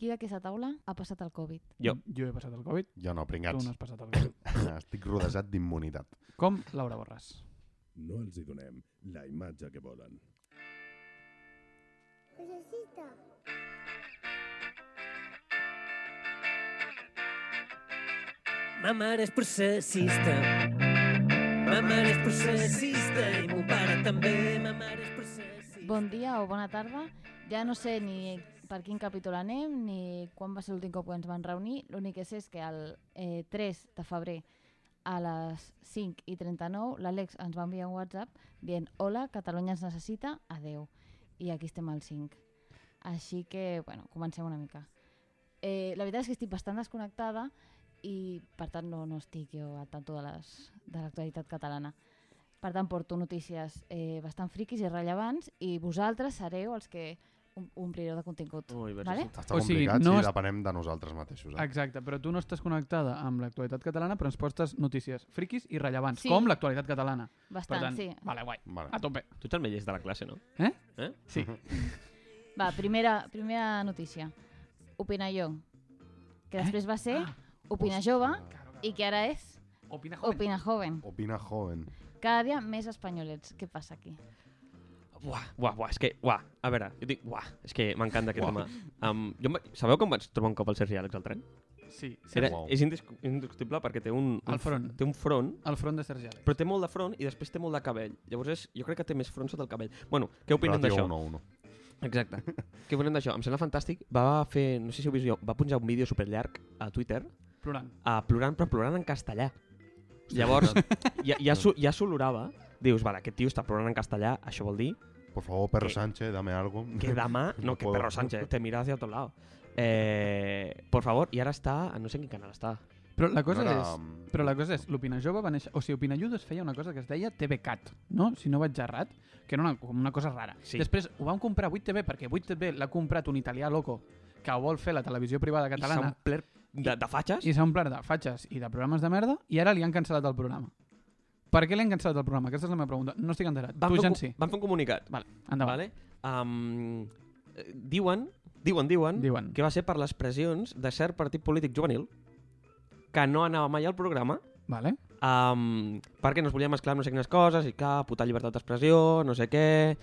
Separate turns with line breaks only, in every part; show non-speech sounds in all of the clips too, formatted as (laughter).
Qui d'aquesta taula ha passat el Covid?
Jo.
Mm, Jo he passat el Covid,
Jo no,
tu
pringats.
no has passat el Covid.
(laughs)
(laughs) Estic rodejat d'immunitat.
Com Laura Borràs.
No els hi donem la imatge que volen.
Cosecita.
Ma mare és processista. Ma mare és processista i mon pare també. Ma mare és processista.
Bon dia o bona tarda. Ja no sé ni per quin capítol anem ni quan va ser l'últim cop que ens van reunir. L'únic que sé és que el eh, 3 de febrer a les 5 i 39 l'Àlex ens va enviar un WhatsApp dient Hola, Catalunya ens necessita, adeu. I aquí estem al 5. Així que, bueno, comencem una mica. Eh, la veritat és que estic bastant desconnectada i, per tant, no, no estic jo al tanto de les- de l'actualitat catalana. Per tant, porto notícies eh, bastant friquis i rellevants i vosaltres sereu els que om- omplireu de contingut.
Oh,
Ui, verge
vale?
santa.
Està
O sigui,
complicat
no
si
es-
depenem de nosaltres mateixos. Eh?
Exacte, però tu no estàs connectada amb l'actualitat catalana, però ens portes notícies friquis i rellevants,
Sí.
com l'actualitat catalana. Per
Bastant,
tant,
sí.
vale, guai.
Vale.
A tope.
Tu ets el més llest de la classe, no?
Eh?
Eh?
Ah,
(laughs)
Sí.
Va, primera, primera notícia. Opina jo. Que
Eh?
després va ser Opina jove i que ara és
Opina joven.
Opina joven.
Opina joven.
Cada dia més espanyolets. Què passa aquí?
Buah, buah, buah, és que, buah, a veure, jo dic, buah, és que m'encanta aquest home. Um, jo, em va- sabeu com vaig trobar un cop el Sergi Àlex al tren?
Sí, sí.
Era,
Uau.
És indis- indiscutible perquè té un, un,
Al front.
té un front,
El front de Sergi Àlex.
però té molt de front i després té molt de cabell. Llavors és, jo crec que té més front sota el cabell. Bueno, què opinen
Ràtio
d'això?
1 a 1.
Exacte. Què volem d'això? Em sembla fantàstic. Va fer, no sé si ho vist, va punjar un vídeo superllarg a Twitter
Plorant.
a plorant, però plorant en castellà. Llavors, ja, ja, so, ja s'olorava. Dius, vale, aquest tio està plorant en castellà, això vol dir
Por favor, Perro
Que-
Sánchez, dame algo. (laughs)
que demà... No, que
puedo.
Perro Sánchez, te mira hacia otro lado. Eh, por favor, i ara està... No sé en quin canal està.
Però la cosa
No
no
era-
és... Però la cosa és, l'Opina Jove va néixer... O sigui, Opina Judes feia una cosa que es deia TVCat, no? Si no vaig errat, que era una, com una cosa rara.
Sí.
Després ho van comprar a 8TV, perquè 8TV l'ha comprat un italià loco que vol fer la televisió privada catalana
I s'ha omplert de, de fatxes?
i s'ha omplert de fatxes i de programes de merda i ara li han cancel·lat el programa. Per què li han cancel·lat el programa? Aquesta és la meva pregunta. No estic enterat.
Van
tu
fer
ja
un
en
co-
sí.
Van fer un comunicat.
Vale, endavant.
Vale? Um, diuen, diuen, diuen,
Diuen.
que va ser per les pressions de cert partit polític juvenil que no anava mai al programa
Vale.
um, perquè no es volia mesclar amb no sé quines coses i clar, puta llibertat d'expressió, no sé què...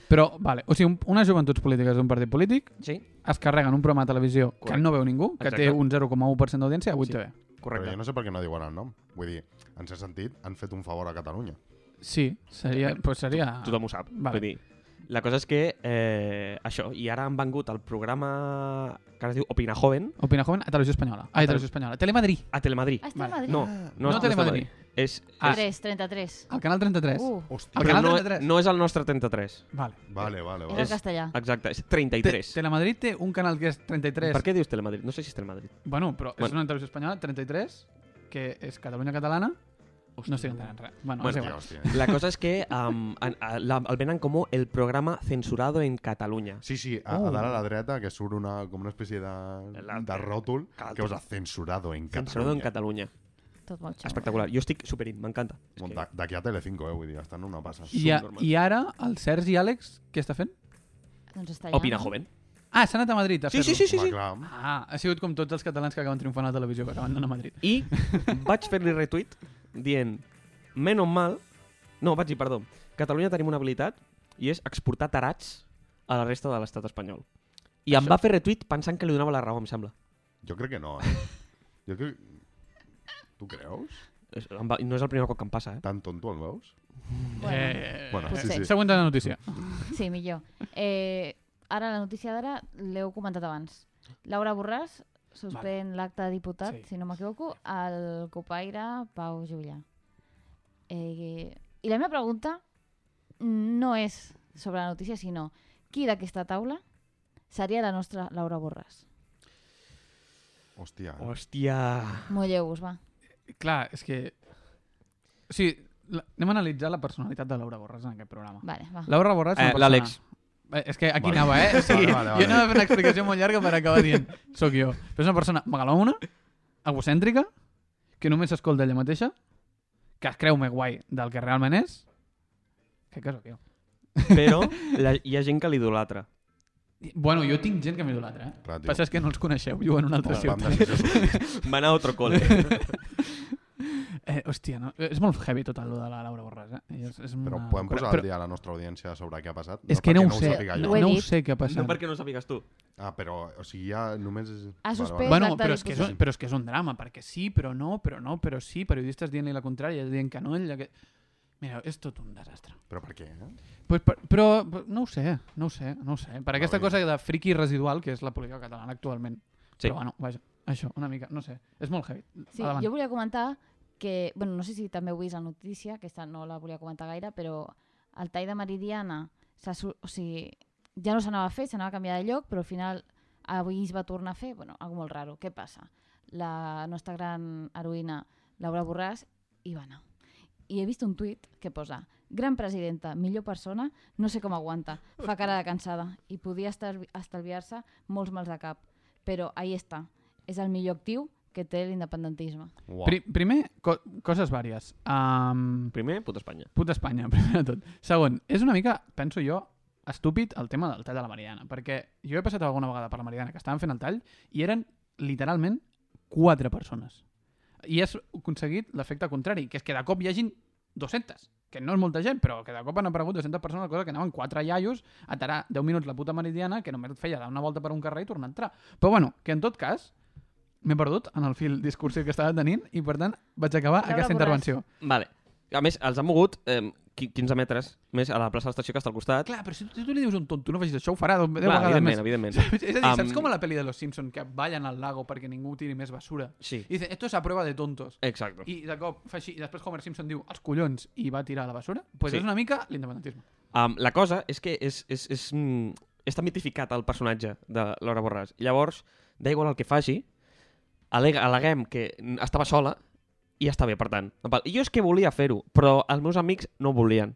Però, vale, o sigui, un, unes joventuts polítiques d'un partit polític
Sí,
es carreguen un programa de televisió que
Correcte.
no veu ningú, que té
Exacte.
un 0,1% d'audiència a 8TV.
Però
correcte.
jo no sé per què no diuen el nom. Vull dir, en cert sentit, han fet un favor a Catalunya.
Sí, seria... Pues seria...
Tothom ho sap.
Vale.
Vull dir, la cosa és que eh, això, i ara han vengut el programa que ara es diu Opina Joven
Opina Joven a Televisió Espanyola. Ai, Televisió Espanyola. Telemadrid.
a Telemadrid.
Ah, estem
Vale.
a Madrid?
No, no,
No
és
Telemadrid.
És,
Ah.
Ah.
3,
és,
33.
Al canal 33.
Uh,
Hòstia.
Al
però
canal
no,
33.
no és el nostre 33.
Vale.
Vale, vale,
és el
vale.
castellà.
Exacte, és
Te-
33.
Telemadrid té un canal que és 33.
Per què dius Telemadrid? No sé si és Telemadrid.
Bueno, però és
Bueno.
una televisió espanyola, 33, que és Catalunya Catalana.
Hòstia.
No estic entenent res. Bueno,
Bueno,
és
Hòstia,
igual.
hòstia.
La cosa és que um, en, a, la, el venen com el programa censurado en Catalunya.
Sí, sí, a, a dalt a la dreta que surt una, com una espècie de,
La-
de ròtol
Cal-
que us ha censurado en
Censurado en
Catalunya.
Catalunya.
Tot molt xou.
Espectacular. Jo estic superint, m'encanta. És
Bon,
que-
d'ac- D'aquí a Telecinco, eh, vull dir, estan una passa.
I, a,
subnormal.
I ara, el Sergi i Àlex, què està fent?
Doncs està allà.
Opina Joven.
Ah, s'ha anat a Madrid a
Sí, sí, sí,
fer-lo.
sí.
Home,
sí.
clar,
Ah, ha sigut com tots els catalans que acaben triomfant a la televisió, que acaben anant a Madrid.
I vaig fer-li retuit dient menos mal... No, vaig dir, perdó. Catalunya tenim una habilitat i és exportar tarats a la resta de l'estat espanyol. I em va fer retuit pensant que li donava la raó, em sembla.
jo crec que no,
(laughs)
eh. Jo crec... Tu creus?
És- em va- No és el primer cop que em passa, eh?
Tan tonto el veus?
Bueno,
eh,
Bueno, sí,
potser.
sí.
Següent de la notícia.
Sí, millor. Eh, ara, la notícia d'ara l'heu comentat abans. Laura Borràs suspèn l'acte de diputat,
Sí.
sí. si no m'equivoco, al copaire Pau Julià. Eh, I la meva pregunta no és sobre la notícia, sinó qui d'aquesta taula seria la nostra Laura Borràs?
Oh,
Hòstia. eh.
Hòstia...
Molleu-vos, va.
Clar, és que... O sigui, la- anem a analitzar la personalitat de Laura Borràs en aquest programa.
Vale, va.
Laura Borràs és una
Eh,
persona...
l'Àlex.
Eh, És que aquí
Vale.
anava, eh? O sigui,
Vale, vale,
Jo
vale.
anava a fer una explicació molt llarga per acabar dient soc jo. Però és una persona megalòmona, egocèntrica, que només s'escolta ella mateixa, que es creu més guai del que realment és, que que sóc jo.
Però la, hi ha gent que l'idolatra.
Bueno, jo tinc gent que m'idolatra, eh?
Clar,
El
tio.
que Passa és que no els coneixeu, viuen en una altra
Van
ciutat.
decisions
Va anar a otro cole.
(laughs) Eh, hòstia, no? és molt heavy tot el de la Laura Borràs, eh? És, és una...
Però podem
cura-
posar
però-
al dia a la nostra audiència sobre què ha passat?
És que no,
perquè
ho sé,
sàpiga
no,
jo.
Ho he
no ho
dit.
sé què ha passat.
No perquè no ho sàpigues tu.
Ah, però, o sigui, ja només... és-
Ha
Vale,
suspès
vale.
Bueno,
l'acte
però és,
de
que és
difusió.
un, però és que és un drama, perquè sí, però no, però no, però sí, periodistes dient-li la contrària, dient que no, ella que... Mira, és tot un desastre.
Però per què? Eh?
Pues, per, però però no ho sé, no ho sé, no ho sé. Per aquesta
bé.
cosa de friqui residual que és la política catalana actualment.
Sí.
Però bueno, vaja, això, una mica, no sé. És molt heavy.
Sí,
Endavant.
jo volia comentar que, bueno, no sé si també heu vist la notícia, aquesta no la volia comentar gaire, però el tall de Meridiana, s'ha su- o sigui, ja no s'anava a fer, s'anava a canviar de lloc, però al final avui es va tornar a fer, bueno, algo molt raro. Què passa? La nostra gran heroïna, Laura Borràs, hi va anar. I he vist un tuit que posa Gran presidenta, millor persona, no sé com aguanta, fa cara de cansada i podia estalvi- estalviar-se molts mals de cap. Però ahí està, és el millor actiu que té l'independentisme.
Uau.
Pri primer, co coses vàries. Um,
Primer, puta Espanya.
Puta Espanya, (laughs) primer de tot. Segon, és una mica, penso jo, estúpid el tema del tall de la Mariana, perquè jo he passat alguna vegada per la Mariana que estaven fent el tall i eren literalment quatre persones. I has aconseguit l'efecte contrari, que és que de cop hi hagin 200, que no és molta gent, però que de cop han aparegut 200 persones, cosa que anaven quatre iaios a tarar 10 minuts la puta Meridiana, que només et feia dar una volta per un carrer i tornar a entrar. Però bueno, que en tot cas, m'he perdut en el fil discursiu que estava tenint i per tant vaig acabar
Laura
aquesta
Borràs.
intervenció.
Vale. A més, els han mogut eh, qui- 15 metres més a la plaça de l'estació que està al costat.
Clar, però si tu, tu li dius a un tonto, no facis això, ho farà deu deu
Clar,
vegades
evidentment,
més.
evidentment.
Saps? És a dir, saps
Am-
com a la pel·li de Los Simpson que ballen al lago perquè ningú tiri més basura?
Sí.
I dice, esto es a prueba de tontos.
Exacte.
I de cop fa així, i després Homer Simpson diu, els collons, i va tirar a la basura? Doncs pues
Sí.
és una mica l'independentisme.
Um, la cosa és que és, és, és, mm, està mitificat el personatge de Laura Borràs. Llavors, da igual el que faci, alega, aleguem que mm, estava sola i ja està bé, per tant. En plan, Jo és que volia fer-ho, però els meus amics no volien.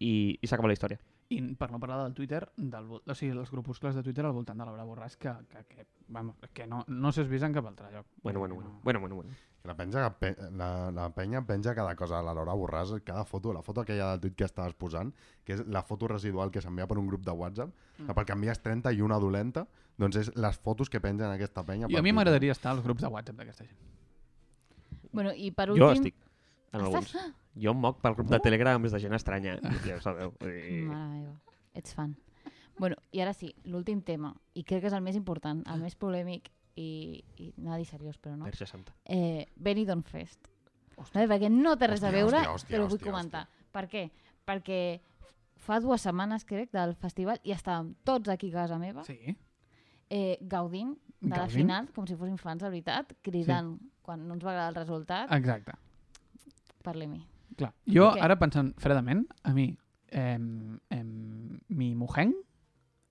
I, i s'acaba la història.
I per no parlar del Twitter, del, vol- o sigui, dels grupuscles de Twitter al voltant de Laura Borràs, que, que, que, vamos, que no, no s'esvisa en cap altre lloc.
Bueno, bueno, bueno. bueno, bueno, bueno.
La, penja, que pe- la, la penya penja cada cosa, la Laura Borràs, cada foto, la foto aquella del tuit que estaves posant, que és la foto residual que s'envia per un grup de WhatsApp, mm. perquè envies 30 i una dolenta, doncs és les fotos que pengen aquesta penya.
I a
per
mi
Twitter.
m'agradaria estar als grups de WhatsApp d'aquesta gent.
Bueno, i per últim...
Jo estic
Estàs-
en
Ah,
alguns. Jo em moc pel grup de Telegram és de gent estranya, eh? ja ho sabeu. I...
Mare meva, ets fan. Bueno, i ara sí, l'últim tema, i crec que és el més important, el més polèmic, i, i anava a dir seriós, però no.
Verge santa.
Eh, Benidorm Fest. Vale, perquè no té res a
Hòstia,
veure,
hòstia, hòstia,
però vull
hòstia,
comentar. Per què? Perquè fa dues setmanes, crec, del festival i estàvem tots aquí a casa meva
Sí.
eh, gaudint de la
Gaudint?
final, com si fossin fans, de veritat, cridant sí. quan no ens va agradar el resultat,
Exacte.
parli-m'hi.
Clar. Jo,
Què?
okay. ara pensant fredament, a mi, em, em, mi mujeng,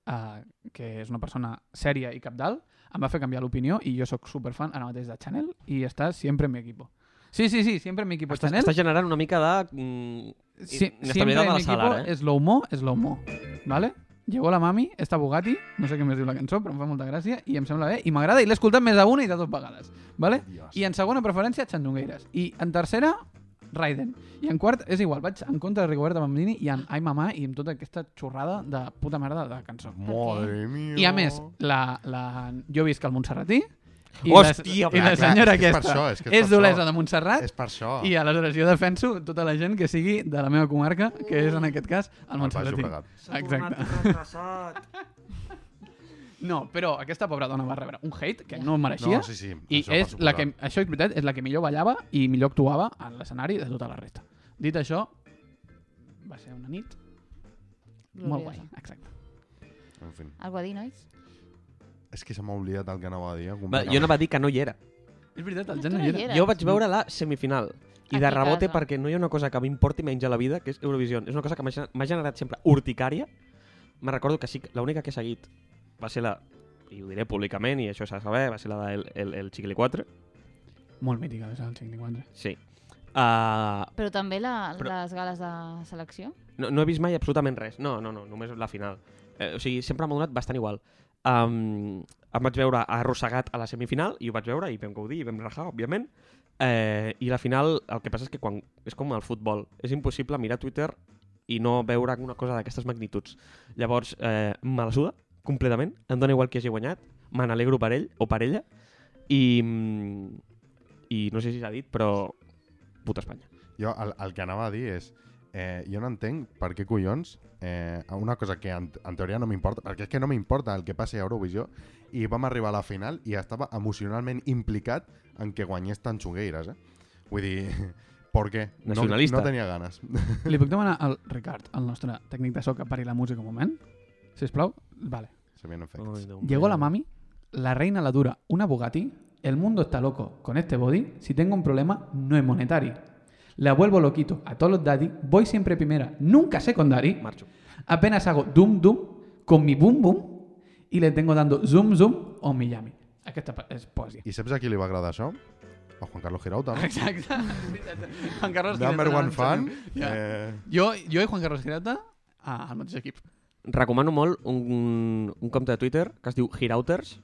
eh, que és una persona sèria i capdalt, em va fer canviar l'opinió i jo sóc superfan ara mateix de Chanel i està sempre en mi equipo. Sí, sí, sí, sempre en mi equipo
Estàs,
Chanel.
estàs generant una mica de... Mm,
Sí,
inestabilidad
siempre en
de la
mi
sala,
equipo
¿eh?
es slow mo, slow mo, ¿vale? Llegó la mami, esta Bugatti, no sé què més diu la cançó, però em fa molta gràcia i em sembla bé i m'agrada i l'he escoltat més d'una i de dues vegades, ¿vale?
Dios.
I en segona preferència, Xandongueires. I en tercera, Raiden. I en quart, és igual, vaig en contra de Rigoberta Bandini i en Ai Mamà i amb tota aquesta xorrada de puta merda de cançó.
Madre mía.
I a més, la, la... jo visc al Montserratí i,
Hòstia,
la, i la
clar, clar,
senyora
és que és per
aquesta
això, és que és
és
per
dolesa
això.
de Montserrat
És per això.
i aleshores jo defenso tota la gent que sigui de la meva comarca, que és en aquest cas el
Al Baix
Montserratí.
Llobregat.
Exacte. (laughs) No, però aquesta pobra dona va rebre un hate que no mereixia.
No, sí, sí,
I
això per
és la
suposat.
que, això és veritat, és la que millor ballava i millor actuava en l'escenari de tota la resta. Dit això, va ser una nit molt guai, exacte.
En fin.
Algo a dir, nois?
És que se m'ha oblidat el que anava a dir.
Va, jo anava a dir que no hi era.
És veritat, el
tu
Jan no
no
hi
hi
era.
eres.
Jo vaig veure la semifinal. I
Aquí
de
a
rebote
casa.
perquè no hi ha una cosa que m'importi menys a la vida, que és Eurovisió. És una cosa que m'ha gener- m'ha generat sempre urticària. Me recordo que sí, que l'única que he seguit va ser la, i ho diré públicament, i això s'ha de saber, va ser la del el, el Chicle 4.
Molt mítica, és el 54.
Sí. Uh,
Però també la,
Però-
les gales de selecció?
no, no he vist mai absolutament res. No, no, no, només la final. Eh, o sigui, sempre m'ha donat bastant igual. Um, em vaig veure arrossegat a la semifinal i ho vaig veure i vam gaudir i vam rajar, òbviament. Eh, I la final, el que passa és que quan, és com el futbol. És impossible mirar Twitter i no veure una cosa d'aquestes magnituds. Llavors, eh, me la suda, completament, em dóna igual qui hagi guanyat, me n'alegro per ell o per ella, i, mm, i no sé si s'ha dit, però puta Espanya.
Jo el, el que anava a dir és... Eh, jo no entenc per què collons eh, una cosa que en, en teoria no m'importa perquè és que no m'importa el que passi a Eurovisió i vam arribar a la final i estava emocionalment implicat en que guanyés tan xugueires eh? vull dir, (laughs) per què? No,
Nacionalista.
no tenia ganes (laughs)
Li puc demanar al Ricard, el nostre tècnic de so, que pari la música un moment? Si us plau? Vale.
Sabien en
Ai, Déu
Llegó
meu.
la mami, la reina la dura, una Bugatti, el mundo está loco con este body, si tengo un problema no es monetario. La vuelvo loquito a todos los daddy, voy siempre primera, nunca secondary,
Marxo.
apenas hago dum dum con mi boom boom y le tengo dando zoom zoom o Miami. Aquesta pa- és poesia. (laughs)
i saps a qui li va agradar això? a Juan Carlos Girauta no?
Exacte. Juan Carlos
number
Girauta,
one
no
fan
ens tenim. Ja.
eh,
Jo, jo i Juan Carlos Girauta ah, al mateix equip.
Recomano molt un, un compte de Twitter que es diu Girauters,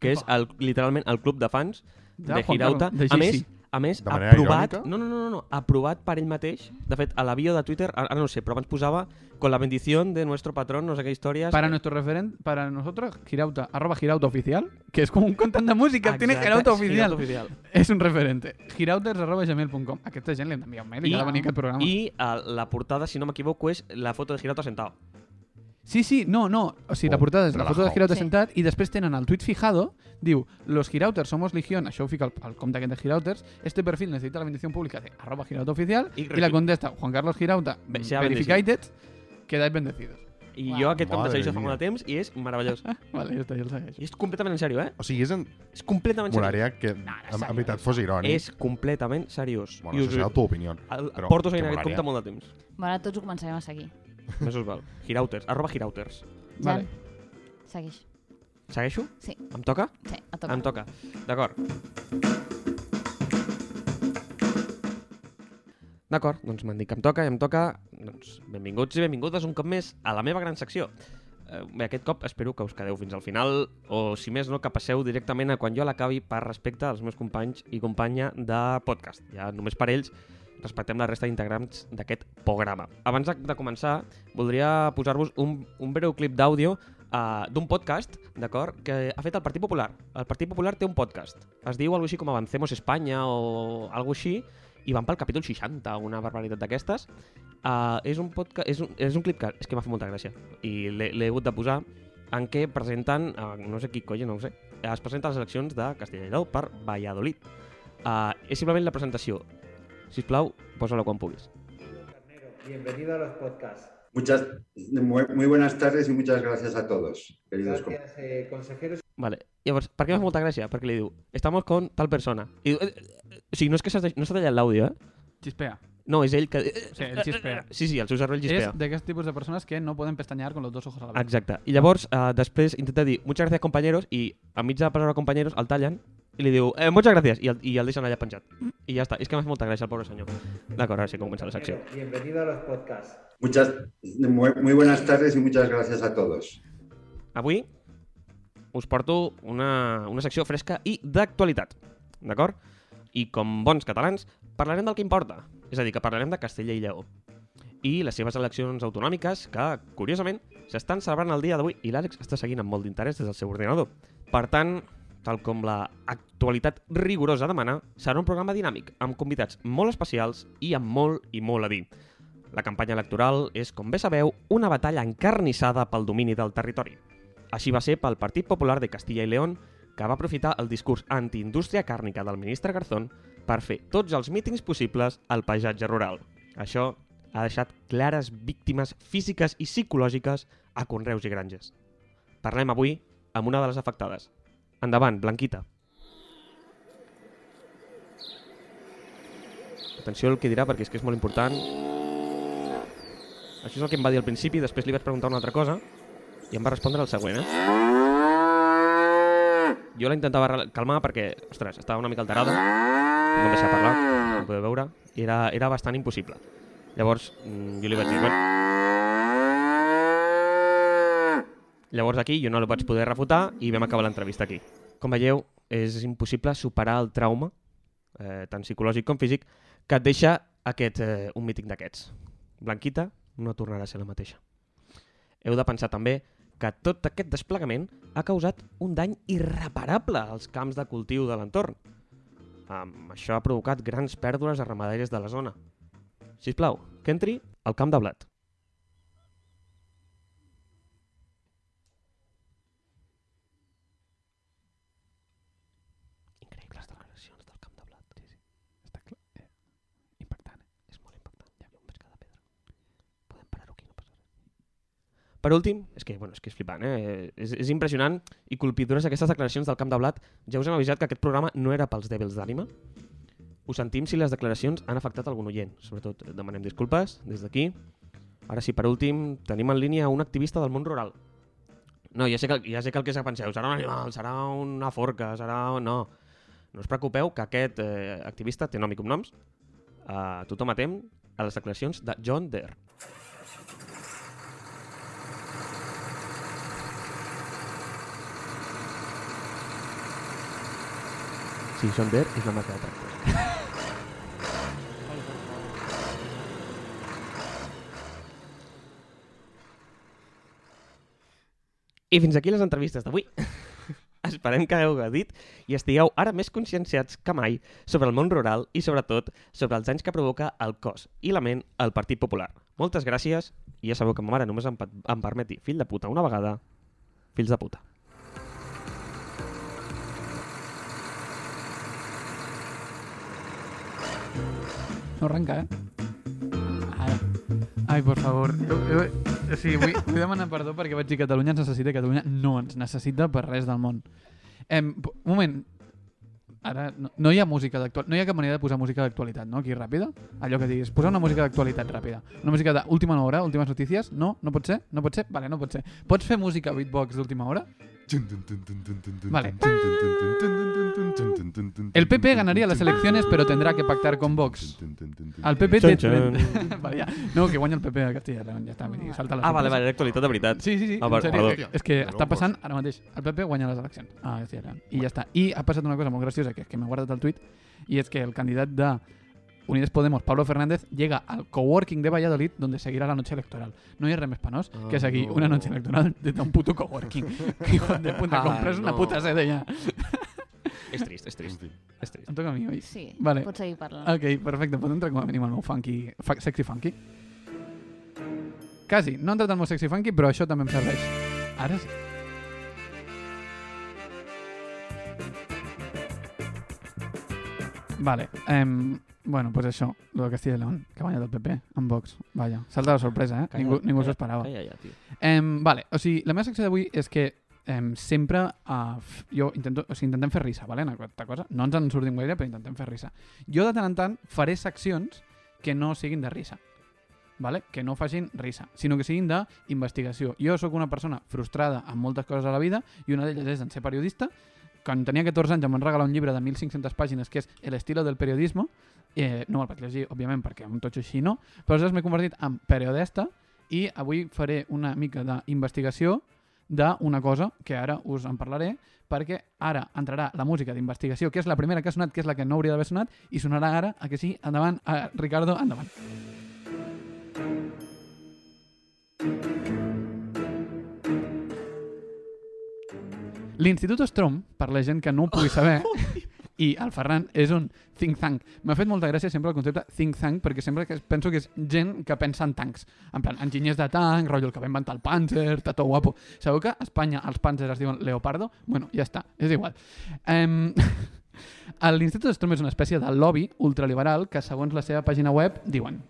que és el, literalment el club de fans de,
De Juan
Girauta.
Carlos, de
a
Jay-Z.
més, a més
De manera
aprovat...
irònica?
No, no, no, no, no, aprovat per ell mateix. De fet, a la bio de Twitter, ara ara no ho sé, però abans posava con la bendición de nuestro patrón, no sé què històries...
Para nuestro referente, para nosotros, Girauta, arroba Girauta Oficial, que es como un contant de música,
Exacte,
tiene Girauta
és
Oficial.
Girauta oficial.
És un referente. Girauters arroba gmail.com. Aquesta gent li hem d'enviar un mail i
I-
cada venir a aquest programa.
I eh, la portada, si no m'equivoco, és la foto de Girauta sentado.
Sí, sí, no, no. O sigui, la
Oh,
portada és la foto de
relajao.
Girauta
Sí.
sentat i després tenen el tuit fijado, diu Los Girauters somos legión, això ho fica al, al compte aquest de Girauters, este perfil necesita la bendición pública de arroba Girauta oficial
I
i, la contesta Juan Carlos Girauta,
Ve- sea
verificated, quedáis bendecidos. Ah,
I
Uau.
jo aquest compte
Madre
segueixo fa
mía.
molt de temps i és meravellós.
Vale, ja està, jo el segueixo.
I és completament en sèrio, eh?
o sigui, és en...
És completament seriós.
molaria que en, en veritat fos irònic
És completament seriós.
bueno, això serà la teva opinió
El,
Però,
porto
que
seguint aquest
molaria.
compte molt de temps.
(laughs) Bueno, ara tots ho començarem a seguir.
Més us val. Girauters, arroba girauters.
Jan,
Vale.
segueix.
Segueixo?
Sí.
Em toca?
Sí, a toca.
Em toca. D'acord. D'acord, doncs m'han dit que em toca i em toca. Doncs benvinguts i benvingudes un cop més a la meva gran secció. Eh, Bé, aquest cop espero que us quedeu fins al final o, si més no, que passeu directament a quan jo l'acabi per respecte als meus companys i companya de podcast. Ja només per ells respectem la resta d'integrants d'aquest programa. Abans de- de començar, voldria posar-vos un, un breu clip d'àudio uh, d'un podcast, d'acord, que ha fet el Partit Popular. El Partit Popular té un podcast. Es diu alguna així com Avancemos Espanya o alguna així, i van pel capítol 60, una barbaritat d'aquestes. Uh, és, un podcast, és, un, és un clip que, és que m'ha fet molta gràcia i l'he l'he hagut de posar en què presenten, uh, no sé qui coi, no ho sé, es presenten les eleccions de Castellà i Lleó per Valladolid. Uh, és simplement la presentació. Si us plau, posa-la quan puguis.
Bienvenido a los podcasts.
Muchas, muy, muy buenas tardes y muchas gracias a todos, queridos compañeros.
Gracias, eh, consejeros.
Vale. Llavors, per què m'ha fet molta gràcia? Perquè li diu, estamos con tal persona. I diu, eh, eh, eh, o sigui, no és que s'ha de- no s'ha tallat l'àudio, eh?
Xispea.
No, és ell que... eh,
O sigui, el xispea.
Sí, sí, el seu cervell
És
xispea.
d'aquest tipus de persones que no poden pestañear con los dos ojos a la vez.
Exacte. I llavors, eh, després intenta dir «Muchas gracias, compañeros», i enmig de la paraula «compañeros» el tallen i li diu eh, «Muchas gracias», i el, i el deixen allà penjat. I ja està. És que m'ha fet molta gràcia el pobre senyor. D'acord, ara sí que comença la secció.
Bienvenido a los podcasts.
Muchas, muy, muy buenas tardes y muchas gracias a todos.
Avui us porto una, una secció fresca i d'actualitat, d'acord? I com bons catalans, parlarem del que importa, és a dir, que parlarem de Castella i Lleó i les seves eleccions autonòmiques que, curiosament, s'estan celebrant el dia d'avui i l'Àlex està seguint amb molt d'interès des del seu ordinador. Per tant, tal com la actualitat rigorosa demana, serà un programa dinàmic, amb convidats molt especials i amb molt i molt a dir. La campanya electoral és, com bé sabeu, una batalla encarnissada pel domini del territori. Així va ser pel Partit Popular de Castilla i León, que va aprofitar el discurs antiindústria càrnica del ministre Garzón per fer tots els mítings possibles al paisatge rural. Això ha deixat clares víctimes físiques i psicològiques a conreus i granges. Parlem avui amb una de les afectades. Endavant, Blanquita. Atenció al que dirà perquè és que és molt important. Això és el que em va dir al principi, després li vaig preguntar una altra cosa i em va respondre el següent, eh? Jo la intentava rel- calmar perquè, ostres, estava una mica alterada. No em deixava parlar, no podeu veure. i Era, era bastant impossible. Llavors, mm, jo li vaig dir, bueno... Llavors aquí jo no el vaig poder refutar i vam acabar l'entrevista aquí. Com veieu, és impossible superar el trauma, eh, tant psicològic com físic, que et deixa aquest, eh, un míting d'aquests. Blanquita no tornarà a ser la mateixa. Heu de pensar també que tot aquest desplegament ha causat un dany irreparable als camps de cultiu de l'entorn. Um, això ha provocat grans pèrdues a ramaderes de la zona. Si plau, que entri al camp de blat. Increïbles declaracions del camp de blat. Sí, sí. Està clar. Eh, impactant. eh? És molt impactant. Ja. Jo em veig cada pedra. Podem parar-ho aquí, no passa res. Per últim, és que, bueno, és que és flipant, eh? És, és impressionant i colpidores aquestes declaracions del camp de blat. Ja us hem avisat que aquest programa no era pels dèbils d'ànima. Ho sentim si les declaracions han afectat algun oient. Sobretot eh, demanem disculpes des d'aquí. Ara sí, per últim, tenim en línia un activista del món rural. No, ja sé que, ja sé que el que se penseu, serà un animal, serà una forca, serà... un- No, no us preocupeu que aquest eh, activista té nom i cognoms. Uh, tothom atem a les declaracions de John Deere. Sí, John Deere és la marca de tractors. I fins aquí les entrevistes d'avui. (laughs) Esperem que hagueu gaudit i estigueu ara més conscienciats que mai sobre el món rural i, sobretot, sobre els danys que provoca el cos i la ment al Partit Popular. Moltes gràcies i ja sabeu que ma mare només em, pa- em permeti fill de puta una vegada, fills de puta.
No arrenca, eh? Ara. Ai, por favor. Eh, Eu, eu, sí, vull, vull demanar perdó perquè vaig dir Catalunya ens necessita, Catalunya no ens necessita per res del món. Em, p- un moment. Ara, no, no hi ha música d'actualitat, no hi ha cap manera de posar música d'actualitat, no? Aquí, ràpida. Allò que diguis, posar una música d'actualitat ràpida. Una música d'última hora, últimes notícies? No? No pot ser? No pot ser? Vale, no pot ser. Pots fer música beatbox d'última hora? Vale. El PP ganaría las elecciones, pero tendrá que pactar con Vox. El PP té...
Xan,
(laughs) vale, ja. No, que guanya el PP a Castilla i León, ja està. Vull dir, salta les
Ah, vale,
sorpreses.
vale, actualitat de veritat.
Sí, sí, sí.
Ah,
en
vale, pues
sèrio,
perdó.
És que
Hòstia,
està passant ara mateix. El PP guanya les eleccions a Castilla i León. I ja està. I ha passat una cosa molt graciosa, que és que m'he guardat el tuit, i és que el candidat de Unides Podemos, Pablo Fernández, llega al coworking de Valladolid donde seguirá la noche electoral. No hay res més penós
Ah,
que seguir
no.
una noche electoral desde un puto coworking. (laughs) que hijo de puta,
Ah,
compras una
no.
puta sede ya.
(laughs) És trist, és trist, és trist.
Em toca a mi, oi?
Sí,
Vale.
pots seguir parlant.
Ok, perfecte, pot entrar com a mínim al meu funky, fa- sexy funky. Quasi, no he entrat al meu sexy funky, però això també em serveix. Ara sí. Vale, em, bueno, pues això, lo de Castilla y León, que ha guanyat el PP amb Vox. Vaja, salta la sorpresa, eh? Ningú, ningú s'ho esperava.
Calla, ja, tio.
Em, vale, o sigui, la meva secció d'avui és que em, sempre eh, f- jo intento, o sigui, intentem fer risa, vale? en aquesta cosa. No ens en sortim gaire, però intentem fer risa. Jo de tant en tant faré seccions que no siguin de risa. Vale? que no facin risa, sinó que siguin d'investigació. Jo sóc una persona frustrada amb moltes coses a la vida i una d'elles és en ser periodista. Quan tenia 14 anys em van regalar un llibre de 1.500 pàgines que és El estilo del periodismo. Eh, no me'l vaig llegir, òbviament, perquè un totxo així no. Però aleshores m'he convertit en periodista i avui faré una mica d'investigació d'una cosa que ara us en parlaré perquè ara entrarà la música d'investigació que és la primera que ha sonat, que és la que no hauria d'haver sonat i sonarà ara, a que sí? Endavant, eh, Ricardo, endavant. L'Institut Strom, per la gent que no ho pugui saber, i el Ferran és un think tank. M'ha fet molta gràcia sempre el concepte think tank perquè sempre que penso que és gent que pensa en tancs. En plan, enginyers de tanc, rotllo el que va inventar el Panzer, tató guapo. Sabeu que a Espanya els Panzers es diuen Leopardo? Bueno, ja està, és igual. Um, (laughs) L'Institut Strom és una espècie de lobby ultraliberal que, segons la seva pàgina web, diuen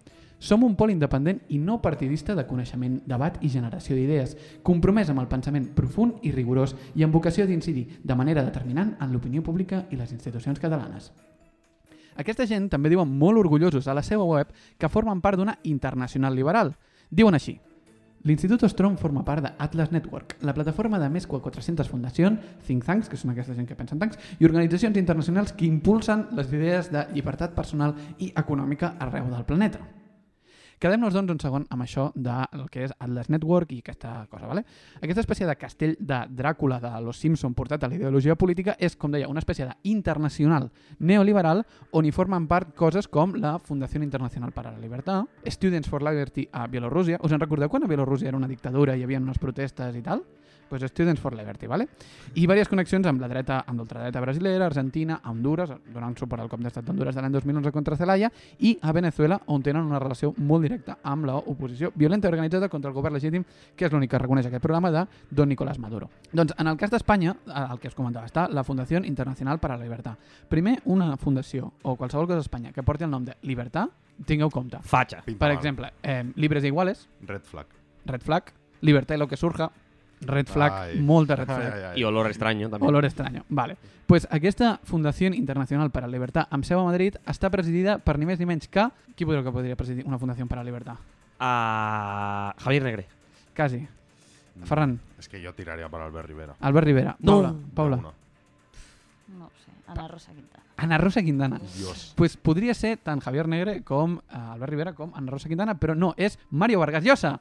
som un pol independent i no partidista de coneixement, debat i generació d'idees, compromès amb el pensament profund i rigorós i amb vocació d'incidir de manera determinant en l'opinió pública i les institucions catalanes. Aquesta gent també diuen molt orgullosos a la seva web que formen part d'una internacional liberal. Diuen així, L'Institut Ostrom forma part de Atlas Network, la plataforma de més que 400 fundacions, think tanks, que són aquesta gent que pensa en tancs, i organitzacions internacionals que impulsen les idees de llibertat personal i econòmica arreu del planeta. Quedem-nos, doncs, un segon amb això del que és Atlas Network i aquesta cosa, ¿vale? Aquesta espècie de castell de Dràcula de Los Simpson portat a la ideologia política és, com deia, una espècie d'internacional neoliberal on hi formen part coses com la Fundació Internacional per a la Libertad, Students for Liberty a Bielorússia. Us en recordeu quan a Bielorússia era una dictadura i hi havia unes protestes i tal? Pues Students for Liberty, ¿vale? I diverses connexions amb la dreta, amb l'ultradreta brasilera, Argentina, a Honduras, donant suport al cop d'estat d'Honduras de l'any 2011 contra Zelaya, i a Venezuela, on tenen una relació molt directa amb l'oposició violenta i organitzada contra el govern legítim, que és l'únic que reconeix aquest programa de Don Nicolás Maduro. Doncs en el cas d'Espanya, eh, el que us comentava, està la Fundació Internacional per a la Libertad. Primer, una fundació o qualsevol cosa d'Espanya que porti el nom de Libertad, tingueu compte.
Fatxa.
Pinta
Per
mal.
exemple, eh, Libres Iguales,
Red flag.
Red Flag, Libertad y lo que surja, Red Flag,
Ai.
molta
(laughs)
Red Flag.
Ai, ai, ai.
I olor estrany, eh, també.
Olor extraño. Vale. Pues aquesta Fundació Internacional per a la Libertad amb seu a Madrid està presidida per ni més ni menys que... Qui podreu que podria presidir una Fundació per a la Libertad?
A... Ah, Javier Negre.
Quasi. Ferran,
És que jo tiraria per Albert Rivera.
Albert Rivera,
No.
Paula, Paula,
Alguna.
No ho sé, Ana Rosa Quintana.
Ana Rosa Quintana.
Dios.
Pues podria ser tant Javier Negre com eh, Albert Rivera com Ana Rosa Quintana, però no, és Mario
(laughs)
Vargas Llosa.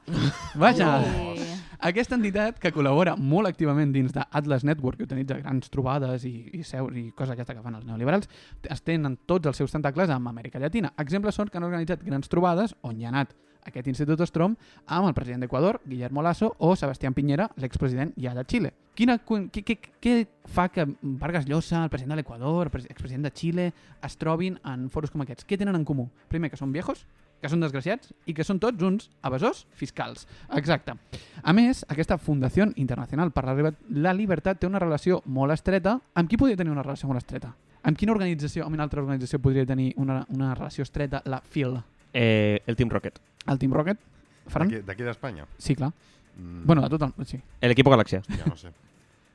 Vaja.
Oh.
Eh,
Aquesta entitat, que col·labora molt activament dins d'Atlas Network, que utilitza grans trobades i, i seus i cosa aquesta que fan els neoliberals, estenen tots els seus tentacles amb Amèrica Llatina. Exemples són que han organitzat grans trobades on hi ha anat aquest Institut Ostrom amb el president d'Equador, Guillermo Lasso, o Sebastián Piñera, l'expresident ja de Xile. Quina, co- què, què, què fa que Vargas Llosa, el president de l'Equador, el pres- expresident de Xile, es trobin en foros com aquests? Què tenen en comú? Primer, que són viejos, que són desgraciats i que són tots uns evasors fiscals. Exacte. A més, aquesta Fundació Internacional per la Liber- la Libertat té una relació molt estreta. Amb qui podria tenir una relació molt estreta? Amb quina organització, amb una altra organització podria tenir una, una relació estreta la FIL?
Eh, el Team Rocket.
El Team Rocket? Ferran?
D'aquí d'aquí d'Espanya?
Sí, clar.
Mm,
Bueno, de tot el... Sí.
El equipo Galaxia.
(laughs)
Ja no sé.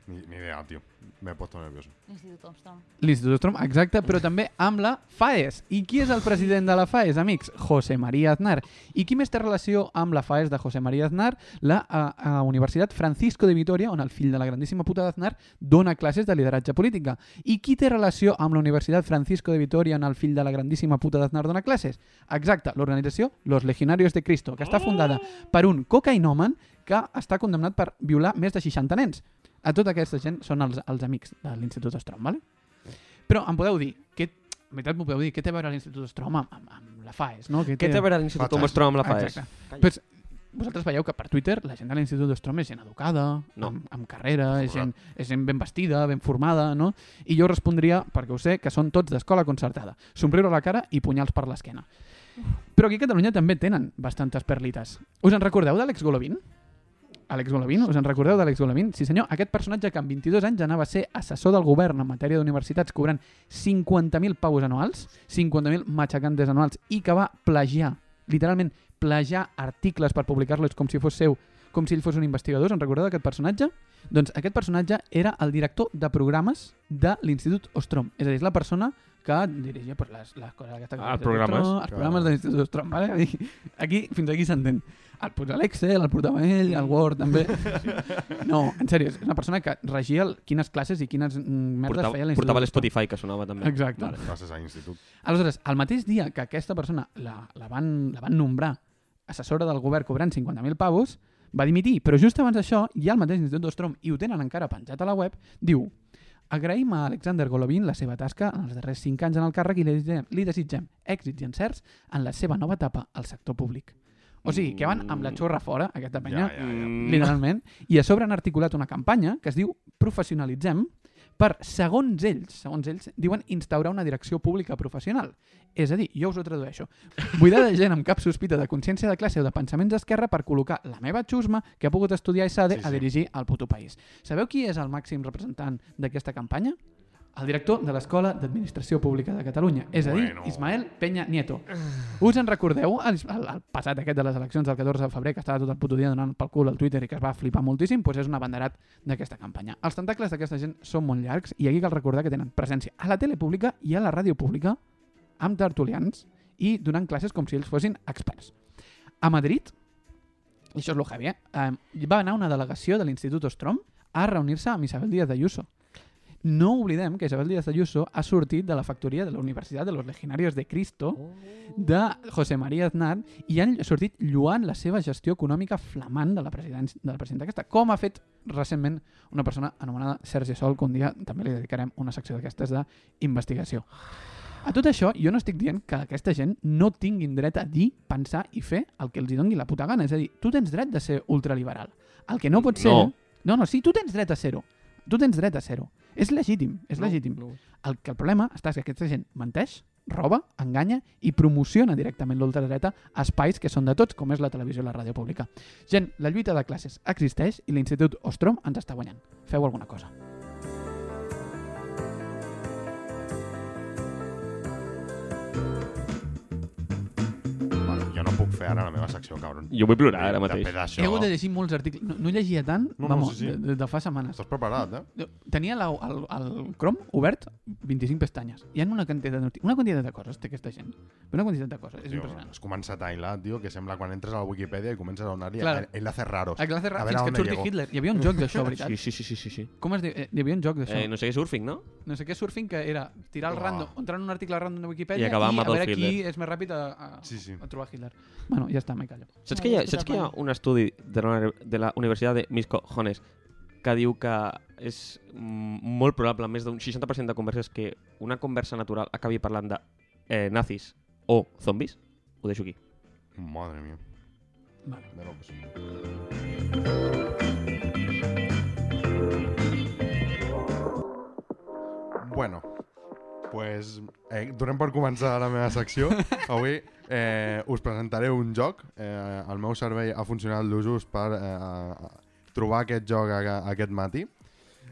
Ni, ni idea, tío. Me he puesto nervioso.
L'Institut Armstrong.
L'Institut Ostrom, exacte, però també amb la FAES. I qui és el president de la FAES, amics? José María Aznar. I qui més té relació amb la FAES de José María Aznar? La a, a Universitat Francisco de Vitoria, on el fill de la grandíssima puta d'Aznar dona classes de lideratge política. I qui té relació amb la Universitat Francisco de Vitoria, on el fill de la grandíssima puta d'Aznar dona classes? Exacte, l'organització Los Legionarios de Cristo, que està fundada per un cocainòman que està condemnat per violar més de 60 nens. A tota aquesta gent són els, els amics de l'Institut Ostrom, ¿vale? Però em podeu dir, què, en veritat m'ho podeu dir, què té a veure l'Institut Ostrom amb, amb, amb la FAES, no?
Què té a veure l'Institut
Fatxa.
Homostrom amb la FAES?
Exacte. Pues, vosaltres veieu que per Twitter la gent de l'Institut d'Ostrom és gent educada,
No.
amb, amb carrera, és gent,
Correcte.
és gent ben vestida, ben formada, no? I jo respondria, perquè ho sé, que són tots d'escola concertada. Somriure a la cara i punyals per l'esquena. Però aquí a Catalunya també tenen bastantes perlites. Us en recordeu de l'ex Golovin? Àlex Golovin, us en recordeu d'Àlex Golovin? Sí senyor, aquest personatge que amb 22 anys anava a ser assessor del govern en matèria d'universitats cobrant 50.000 paus anuals, 50.000 matxacantes anuals, i que va plagiar, literalment plagiar articles per publicar-los com si fos seu, com si ell fos un investigador, us en recordeu d'aquest personatge? Doncs aquest personatge era el director de programes de l'Institut Ostrom, és a dir, és la persona que dirigia pues, les, les coses d'aquesta
Ah, els programes.
els programes de l'Institut Ostrom, vale? Vull dir, Aquí, fins aquí s'entén. El, pues, l'Excel, el portava ell, el Word
(laughs)
també. No, en sèrio, és una persona que regia el, quines classes i quines mm, merdes feia
Portava,
l'Institut
portava
Ostrom.
l'Spotify, que sonava també.
Exacte. Vale.
Classes a institut.
Aleshores, el mateix dia que aquesta persona la, la, van, la van nombrar assessora del govern cobrant 50.000 pavos, va dimitir, però just abans d'això, ja el mateix Institut d'Ostrom, i ho tenen encara penjat a la web, diu Agraïm a Alexander Golovin la seva tasca en els darrers 5 anys en el càrrec i li desitgem, li desitgem èxits i encerts en la seva nova etapa al sector públic. O sigui, que van amb la xorra fora, aquesta penya,
Mm. Ja, ja,
Mm.
ja.
Mm. literalment, i a sobre han articulat una campanya que es diu Professionalitzem per, segons ells, segons ells, diuen instaurar una direcció pública professional. És a dir, jo us ho tradueixo. Buidar de gent amb cap sospita de consciència de classe o de pensaments d'esquerra per col·locar la meva xusma que ha pogut estudiar a SADE
Sí,
sí, sí. a
sí.
dirigir al puto país. Sabeu qui és el màxim representant d'aquesta campanya? El director de l'Escola d'Administració Pública de Catalunya, és a dir,
Bueno.
bueno. Ismael Peña Nieto. Us en recordeu el, el, el passat aquest de les eleccions del 14 de febrer que estava tot el puto dia donant pel cul al Twitter i que es va flipar moltíssim? Doncs és un abanderat d'aquesta campanya. Els tentacles d'aquesta gent són molt llargs i aquí cal recordar que tenen presència a la tele pública i a la ràdio pública amb tertulians i donant classes com si ells fossin experts. A Madrid, i això és lo heavy, eh? eh, va anar una delegació de l'Institut Ostrom a reunir-se amb Isabel Díaz de Ayuso. No oblidem que Isabel Díaz Ayuso ha sortit de la factoria de la Universitat de los Legionarios de Cristo de José María Aznar i han sortit lluant la seva gestió econòmica flamant de la, presidència, de la presidenta aquesta, com ha fet recentment una persona anomenada Sergi Sol, que un dia també li dedicarem una secció d'aquestes d'investigació. A tot això, jo no estic dient que aquesta gent no tinguin dret a dir, pensar i fer el que els hi doni la puta gana. És a dir, tu tens dret de ser ultraliberal. El que no pot ser...
No.
no, no sí, tu tens dret a ser-ho. Tu tens dret a ser-ho. És legítim, és legítim.
no.
El, que el problema està és que aquesta gent menteix, roba, enganya i promociona directament l'ultradreta a espais que són de tots, com és la televisió i la ràdio pública. Gent, la lluita de classes existeix i l'Institut Ostrom ens està guanyant. Feu alguna cosa.
Bueno, jo no puc fer ara la meva secció, cabron.
Jo vull plorar ara mateix.
Després
He hagut de
d'això...
llegir molts articles. No, no llegia tant,
No, no,
vamos,
sí, sí.
De, de, de fa setmanes.
Estàs preparat, eh?
Tenia la, el, el Chrome obert 25 pestanyes. Hi ha una quantitat, de noti- una quantitat de coses, té aquesta gent. Una quantitat de coses, és
Tio,
impressionant.
has començat a hilar, tio, que sembla quan entres a la Wikipedia i comences a donar-li
Clar.
claro. enlaces raros.
A classe
A
rara, fins
veure
que
on
et surti
llego.
Hitler. Hi havia un joc
(laughs)
d'això, veritat?
Sí, sí, sí, sí, sí, sí.
Com es diu? Eh, hi havia un joc d'això.
Eh, no sé què, surfing, no?
No sé què surfing, que era tirar el
Oh.
random, entrar en un article random de Wikipedia
I
i,
acabar amb
a veure
Adolf
qui
Hitler.
és més ràpid a, a,
Sí, sí.
a trobar Hitler. Bueno, ja està, me callo.
Saps
No,
que, hi ha,
jo estic
saps que hi ha
aprenent.
un estudi de la, de la Universitat de Mis Cojones que diu que és mm, molt probable més d'un 60% de converses que una conversa natural acabi parlant de eh, nazis o zombis? Ho deixo aquí.
Madre mía.
Vale.
De locos. Bueno, pues eh, donem per començar la meva
(laughs)
secció. Avui eh, us presentaré un joc. Eh, el meu servei ha funcionat l'usos per eh, a- a trobar aquest joc a, a- aquest matí.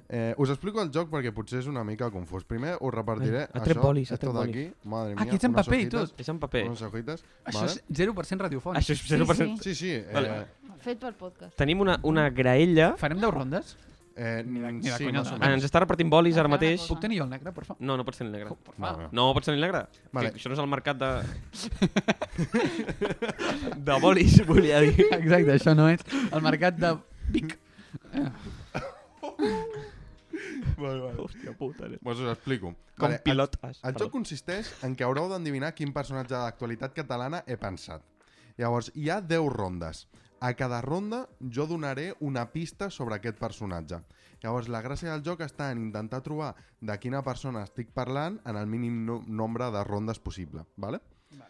Eh, us explico el joc perquè potser és una mica confús. Primer us repartiré
Ai, ha tret
això,
bolis, ha
esto
tret
de
bolis.
aquí. Madre mía,
Ah, aquí ets en
unes
paper i
hojitas,
tot.
És en paper. Ah,
Unes hojitas.
Això
vale?
és 0% radiofònic.
Això és 0%.
Sí, sí. Eh,
Vale.
Fet per podcast.
Tenim una, una graella.
Farem 10 rondes?
Eh, mm,
ni de
sí,
conya
més
no.
o
Ah,
menys.
ens està repartint bolis ara mateix.
Puc tenir jo el negre, porfa?
No, no pots tenir el negre.
Va, va.
No pots tenir el negre.
Vale.
Vale. Això no és el mercat (laughs) de... de bolis, volia dir.
Exacte, això no és el mercat de Vic. ah.
Vale, vale.
Hòstia puta, eh?
Pues us explico.
Com
Vale, el,
pilot.
el joc consisteix en que haureu d'endevinar quin personatge d'actualitat catalana he pensat. Llavors, hi ha 10 rondes. A cada ronda jo donaré una pista sobre aquest personatge. Llavors, la gràcia del joc està en intentar trobar de quina persona estic parlant en el mínim no nombre de rondes possible. Vale?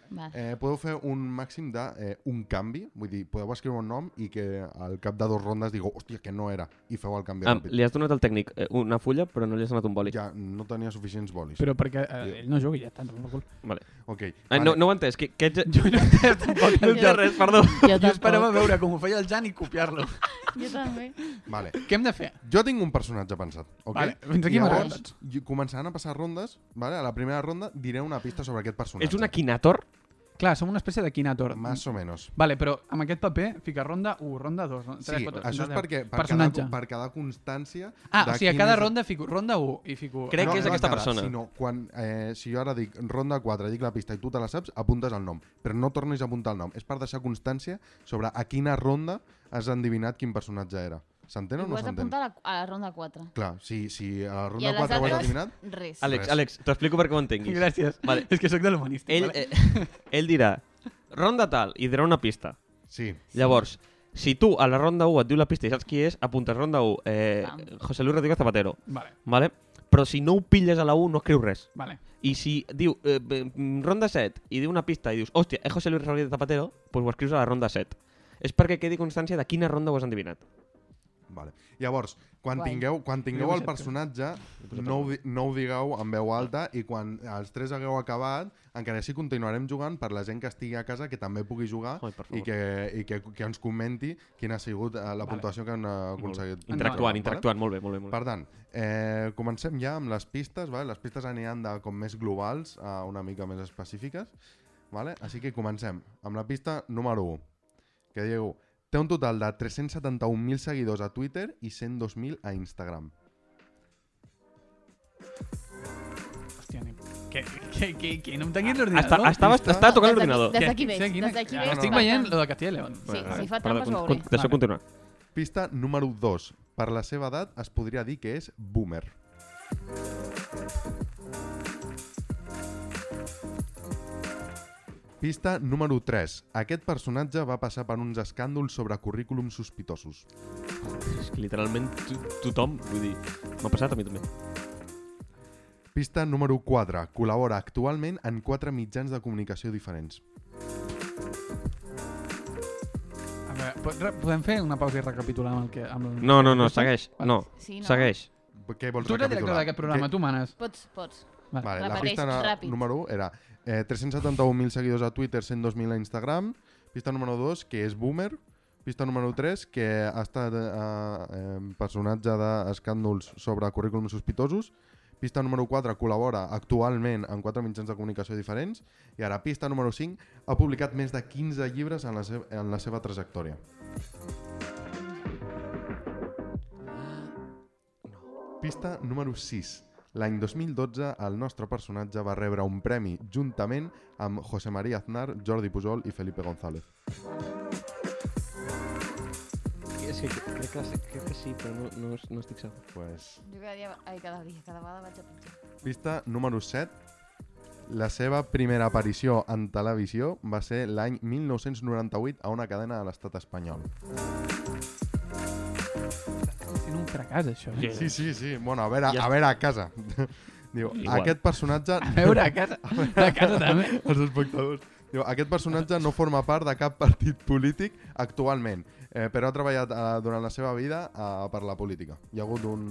Vale.
Eh, podeu fer un màxim de eh, un canvi, vull dir, podeu escriure un nom i que al cap de dues rondes digueu, hòstia, que no era, i feu el canvi
Ah,
ràpid.
li has donat al tècnic eh, una fulla, però no li has donat un boli. Ja.
Ja no tenia suficients bolis.
Però perquè eh, ell no jugui, ja està. No, cul.
Vale.
Ok.
Ah, no, no ho he entès. Que, que...
Jo no entenc
(laughs)
tampoc.
No he entès res, perdó.
Jo,
Jo esperava
tampoc.
veure com ho feia el Jan i copiar-lo.
Jo també.
Vale.
Què hem de fer?
Jo tinc un personatge pensat, ok?
Vale, fins aquí m'agraden
Llavors,
tots.
jo- començaran a passar rondes, vale? A la primera ronda diré una pista sobre aquest personatge.
Ets una quinator?
Clar, som una espècie de Quinator.
Más o menos.
Vale, però amb aquest paper fica ronda 1, ronda 2, ronda 3,
Sí,
4,
això és perquè per
Personatge.
cada, per cada constància...
Ah, o
de
sigui, a
quin
cada
és-
ronda fico ronda 1 i fico...
Crec
no,
que és
no a
aquesta
cada,
persona.
Sinó quan, eh, si jo ara dic ronda 4, dic la pista i tu te la saps, apuntes el nom. Però no tornis a apuntar el nom. És per deixar constància sobre a quina ronda has endevinat quin personatge era. S'entén o
Ho
no
has
s'entén?
d'apuntar a, la- a la ronda 4.
Clar, si, si a
I
la
a
ronda
les
4 ho has
altres,
endevinat...
Res.
Àlex,
Res.
Àlex, t'explico perquè ho entenguis.
Gràcies.
Vale.
És que sóc de l'humanista.
Ell,
vale?
eh, (laughs) ell dirà, ronda tal, i dirà una pista.
Sí.
Llavors, si tu a la ronda 1 et diu la pista i saps qui és, apuntes ronda 1,
Pam.
eh, José Luis Rodríguez Zapatero,
Vale,
vale? però si no ho pilles a la 1 no escrius res.
vale.
I si diu eh, mm, ronda 7 i diu una pista i dius, hòstia, és José Luis Rodríguez Zapatero, doncs ho escrius a la ronda 7. És perquè quedi constància de quina ronda ho has endevinat.
Vale. Llavors, quan
Guai.
tingueu, quan tingueu el
Mira,
personatge, no ho, di- no ho digueu en veu alta i quan els tres hagueu acabat, encara així continuarem jugant per la gent que estigui a casa que també pugui jugar
Ai, per favor.
i, que, i que, que ens comenti quina ha sigut eh, la puntuació que han eh, aconseguit.
Interactuant,
Vale?
interactuant, molt bé, molt bé. Molt bé.
Per tant, eh, comencem ja amb les pistes. Vale? Les pistes aniran de com més globals a una mica més específiques. Vale? Així que comencem amb la pista número 1, que diu té un total de 371.000 seguidors a Twitter i 102.000 a Instagram.
Hòstia, Nick. Que, que, que, que no em tanquis
Està,
l'ordinador.
estava,
Està-
estava tocant
Des d'aquí-
l'ordinador.
Des
Què?
d'aquí veig,
Sí, quina-
des d'aquí
Ah,
veig.
Estic
per
veient
tant.
lo de Castilla i León.
Sí,
Vale,
si fa
perdó,
trampes ho
con-
veuré.
con- Deixa'm
Vale.
continuar.
Pista número 2. Per la seva edat es podria dir que és boomer. Pista número 3. Aquest personatge va passar per uns escàndols sobre currículums sospitosos.
És que literalment to tothom, vull dir, m'ha passat a mi també.
Pista número 4. Col·labora actualment en quatre mitjans de comunicació diferents.
A veure, pot- re- podem fer una pausa i recapitular amb el que... Amb el...
No, no, no, segueix.
Vale.
No,
Sí, no.
segueix.
Què vols
Tu ets el director
recapitular?
d'aquest programa,
Què-
tu manes.
Pots, pots.
Vale, la
Repeteix,
pista na-
ràpid.
número 1 era eh, 371.000 seguidors a Twitter, 102.000 a Instagram. Pista número 2, que és boomer. Pista número 3, que ha estat eh, eh, personatge d'escàndols sobre currículums sospitosos. Pista número 4, col·labora actualment en quatre mitjans de comunicació diferents. I ara, pista número 5, ha publicat més de 15 llibres en la, se en la seva trajectòria. Pista número 6. L'any 2012, el nostre personatge va rebre un premi juntament amb José María Aznar, Jordi Pujol i Felipe González.
És que crec que, crec que sí, però no, no, no estic segur.
Pues...
Jo cada dia, ai, cada dia, cada vegada vaig a pitjor.
Pista número 7. La seva primera aparició en televisió va ser l'any 1998 a una cadena de l'estat espanyol.
Està sent un fracàs, això. Eh?
Sí, sí, sí. Bueno, a veure,
Ja-
a, veure a casa. (laughs) Diu,
Igual.
aquest personatge...
A veure, a
(laughs)
casa, a casa també.
els espectadors. Diu, aquest personatge no forma part de cap partit polític actualment, eh, però ha treballat eh, durant la seva vida eh, per la política. Hi ha hagut un,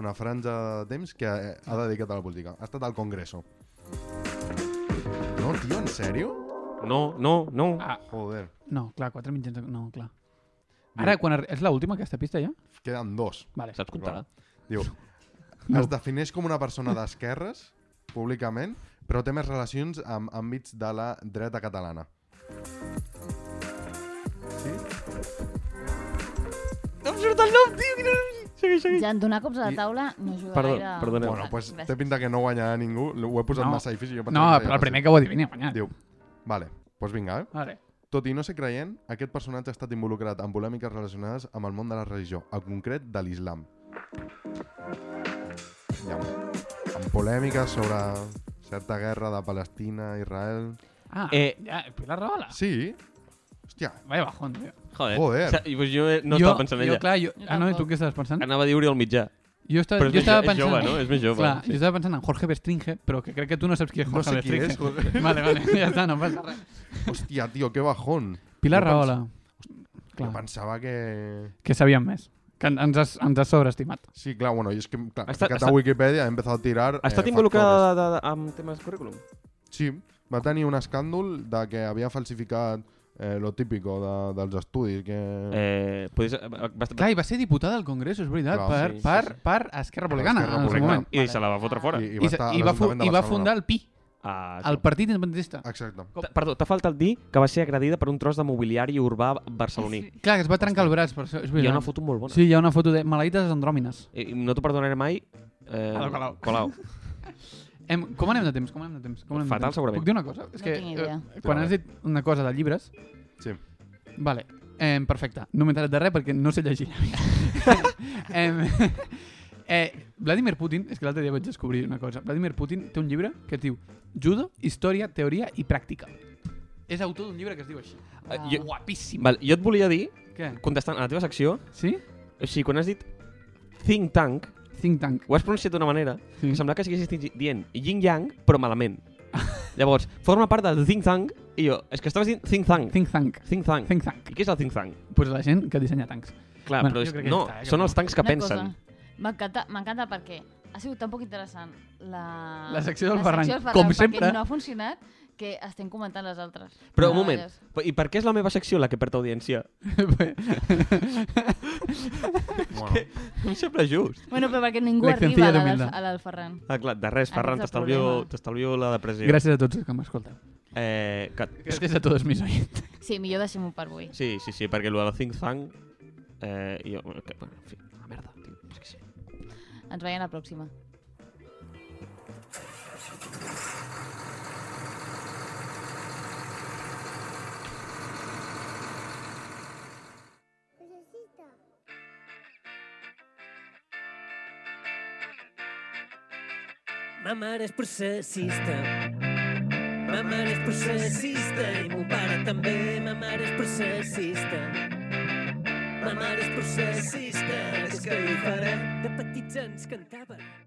una franja de temps que eh, ha dedicat a la política. Ha estat al Congreso. No, tio, en sèrio?
No, no, no.
Ah,
Joder,
no, clar, quatre mitjans... de- No, clar. Ara, quan arri- és l'última aquesta pista ja?
queden dos.
Vale.
Saps comptar?
Diu,
No.
es defineix com una persona d'esquerres, públicament, però té més relacions amb àmbits de la dreta catalana. Sí?
No em surt el nom, tio! Quina... Segueix, segueix.
Ja, donar cops a
I-
la taula no ajuda
Perdó,
gaire.
perdoneu.
Bueno, pues
Gràcies.
té pinta que no guanyarà ningú. L- Ho he posat
No.
no. massa difícil. Jo
No,
pensava
però
seria
el primer
fàcil.
que ho adivini ha guanyat.
Diu, vale, doncs vinga, eh?
Vale.
Tot i no ser creient, aquest personatge ha estat involucrat en polèmiques relacionades amb el món de la religió, en concret de l'islam. Ja, amb polèmiques sobre certa guerra de Palestina, Israel...
Ah,
Eh,
ja, Pilar Rahola.
Sí! Hòstia,
Vaya bajón, tio.
Joder.
Joder.
Sa- i pues jo eh, no estava pensant en
jo,
ella.
clar, jo,
Jo
ah, no, i tu
tampoc.
què estaves pensant?
Anava a dir-ho al mitjà.
Jo, estava,
Però és
jo
més
estava
jo- és
pensant... eh,
jove, no? És més jove,
Clar,
sí.
jo estava pensant en Jorge Bestringe, però que crec que tu no saps qui és
No
Jorge
sé qui
Bestringe.
és,
(laughs)
joder.
Vale, vale, ja està, no passa res.
hòstia, tio, que bajón.
Pilar
Jo pens-
Rahola,
Jo
clar,
pensava que...
que sabíem més. Que en- ens has, ens has sobreestimat.
Sí, clar, bueno, jo és que clar,
Ha
he
estat-
ficat
ha
a
estat-
Wikipedia, he empezado a tirar...
Ha estat
eh, factores.
involucrada de, de, amb temes de currículum?
Sí, va tenir un escàndol de que havia falsificat eh, lo típico de, dels estudis que... Eh,
Eh, podries, eh, va,
Clar, i va ser diputada al Congrés, és veritat,
Clar,
per,
sí, sí,
per,
sí.
per Esquerra Republicana, en
Esquerra
el seu
Republicana.
moment. Ah.
I se la va fotre fora.
I,
I, se-
estar a
i, va, fu-
l'Ajuntament de
i va
Barcelona.
fundar el PI,
Ah,
el Partit Independentista.
Exacte.
T- Perdó, t'ha faltat dir que va ser agredida per un tros de mobiliari urbà barceloní. Sí.
Clar, que es va trencar el braç, per això,
Hi
és
ha
veritat.
una foto molt bona.
Sí, hi ha una foto de Malaites andròmines.
I, i no t'ho perdonaré mai. Eh,
A la Colau.
Colau.
Em, com anem de temps? Com anem de temps? Com anem de
Fatal,
temps?
segurament.
Puc dir una cosa? És
No
que,
tinc idea.
eh, quan has dit una cosa de llibres...
Sí.
Vale, em, perfecte. No m'he enterat de res perquè no sé llegir. em, eh, Vladimir Putin, és que l'altre dia vaig descobrir una cosa. Vladimir Putin té un llibre que es diu Judo, Història, Teoria i Pràctica. És autor d'un llibre que es diu així.
Eh,
Ah.
jo,
Guapíssim.
val, jo et volia dir,
Què?
contestant a la teva secció,
Sí?
o sigui, quan has dit think tank,
Think Tank.
ho has pronunciat d'una manera
Sí.
que semblava que estiguessis di- dient yin-yang, però malament.
(laughs)
Llavors, forma part del think tank, i jo, és que estaves dient think tank,
Think Tank.
think tank.
Think Tank.
I què és el think tank?
Pues la gent que dissenya tancs.
Clar,
Bueno,
però
jo
és,
crec que
no,
ja està, jo
són
crec
els tancs que
Una
pensen.
cosa, M'encanta m'encanta perquè ha sigut tan poc interessant la,
La secció del
la
Ferran,
secció
com
perquè
sempre.
no ha funcionat que estem comentant les altres.
Però
Ah,
un moment,
llavors.
i per què és la meva secció la que perd audiència?
Bueno,
Em sembla just.
Bueno, però perquè ningú
Lección
arriba a
de
la del,
humildad.
a la del Ferran.
Ah, clar, de res,
Aquest
Ferran,
és el
t'estalvio
problema.
t'estalvio la depressió.
Gràcies a tots els que m'escolteu.
Eh, que,
Gràcies a tots mis oients.
Sí, millor deixem-ho per avui.
sí, sí, sí, perquè lo del think tank... Eh, jo, bueno, que, bueno, en fi, una merda. Tio, és que sí.
Ens veiem la pròxima.
Ma mare és processista. Ma
veritat.
mare és processista i mon pare també. Ma mare és processista. Ma mare és processista, és que hi faré. De petits ens cantaven.